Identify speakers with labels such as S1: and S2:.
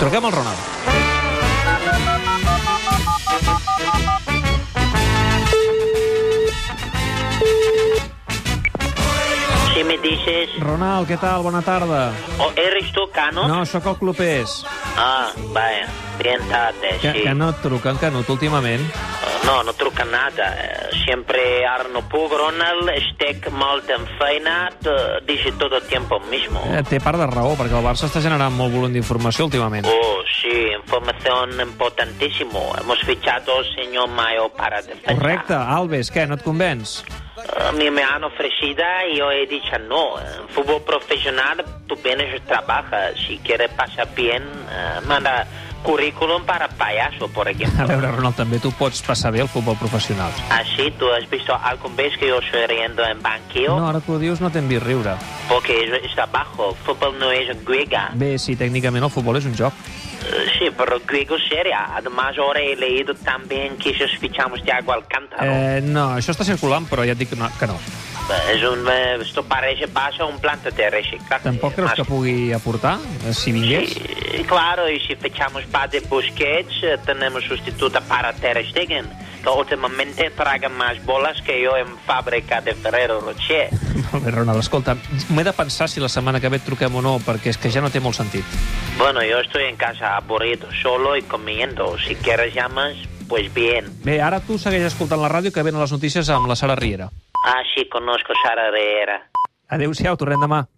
S1: Truquem al Ronald.
S2: Si me dices,
S1: Ronald, què tal? Bona tarda.
S2: ¿o eres tú, Cano?
S1: No, sóc el clubers.
S2: Ah, vaya, bien tarde,
S1: Que,
S2: sí. "Oh,
S1: que no et truquen, Canut, últimament.
S2: No, no truca nada. Eh, Siempre Arno Pug, Ronald, estic molt en feina, t- dice todo el tiempo mismo.
S1: Eh, té part de raó, perquè el Barça està generant molt volum d'informació últimament.
S2: Oh, sí, información importantísimo. Hemos fichado al señor Mayo para defensar.
S1: Correcte, Alves, què, no et convenç?
S2: A mí me han ofrecido y yo he dicho no. En fútbol profesional tú vienes y trabajas. Si quieres pasar bien, eh, manda currículum para payaso, por ejemplo.
S1: A veure, Ronald, també tu pots passar bé al futbol professional.
S2: Ah, sí, tú has visto algún vez que yo estoy riendo en banquillo,
S1: No, ara que ho dius no t'hem vist riure.
S2: porque es, es trabajo. Fútbol no es griega.
S1: Bé, sí, tècnicament el futbol és un joc.
S2: Eh, sí, pero griego seria. Además, ahora he leído también que ellos fichamos de agua al cántaro.
S1: Eh, no, això està circulant, però ja et dic que no, que no.
S2: Es un, eh, esto parece base a un planta de reciclaje.
S1: Tampoc creus
S2: Más-
S1: que pugui aportar, eh, si vingués?
S2: Sí, claro, y si fichamos para de Busquets, eh, tenemos sustituta para Ter Stegen, que últimamente traga más bolas que yo en fábrica de Ferrero Rocher.
S1: Molt bé, Ronald, escolta, m'he de pensar si la setmana que ve et truquem o no, perquè és que ja no té molt sentit.
S2: Bueno, yo estoy en casa aburrido, solo y comiendo. Si quieres llamas, pues bien.
S1: Bé, ara tu segueix escoltant la ràdio que venen les notícies amb la Sara Riera.
S2: Ah, sí, conozco a Sara Herrera.
S1: Adéu-siau, tornem demà.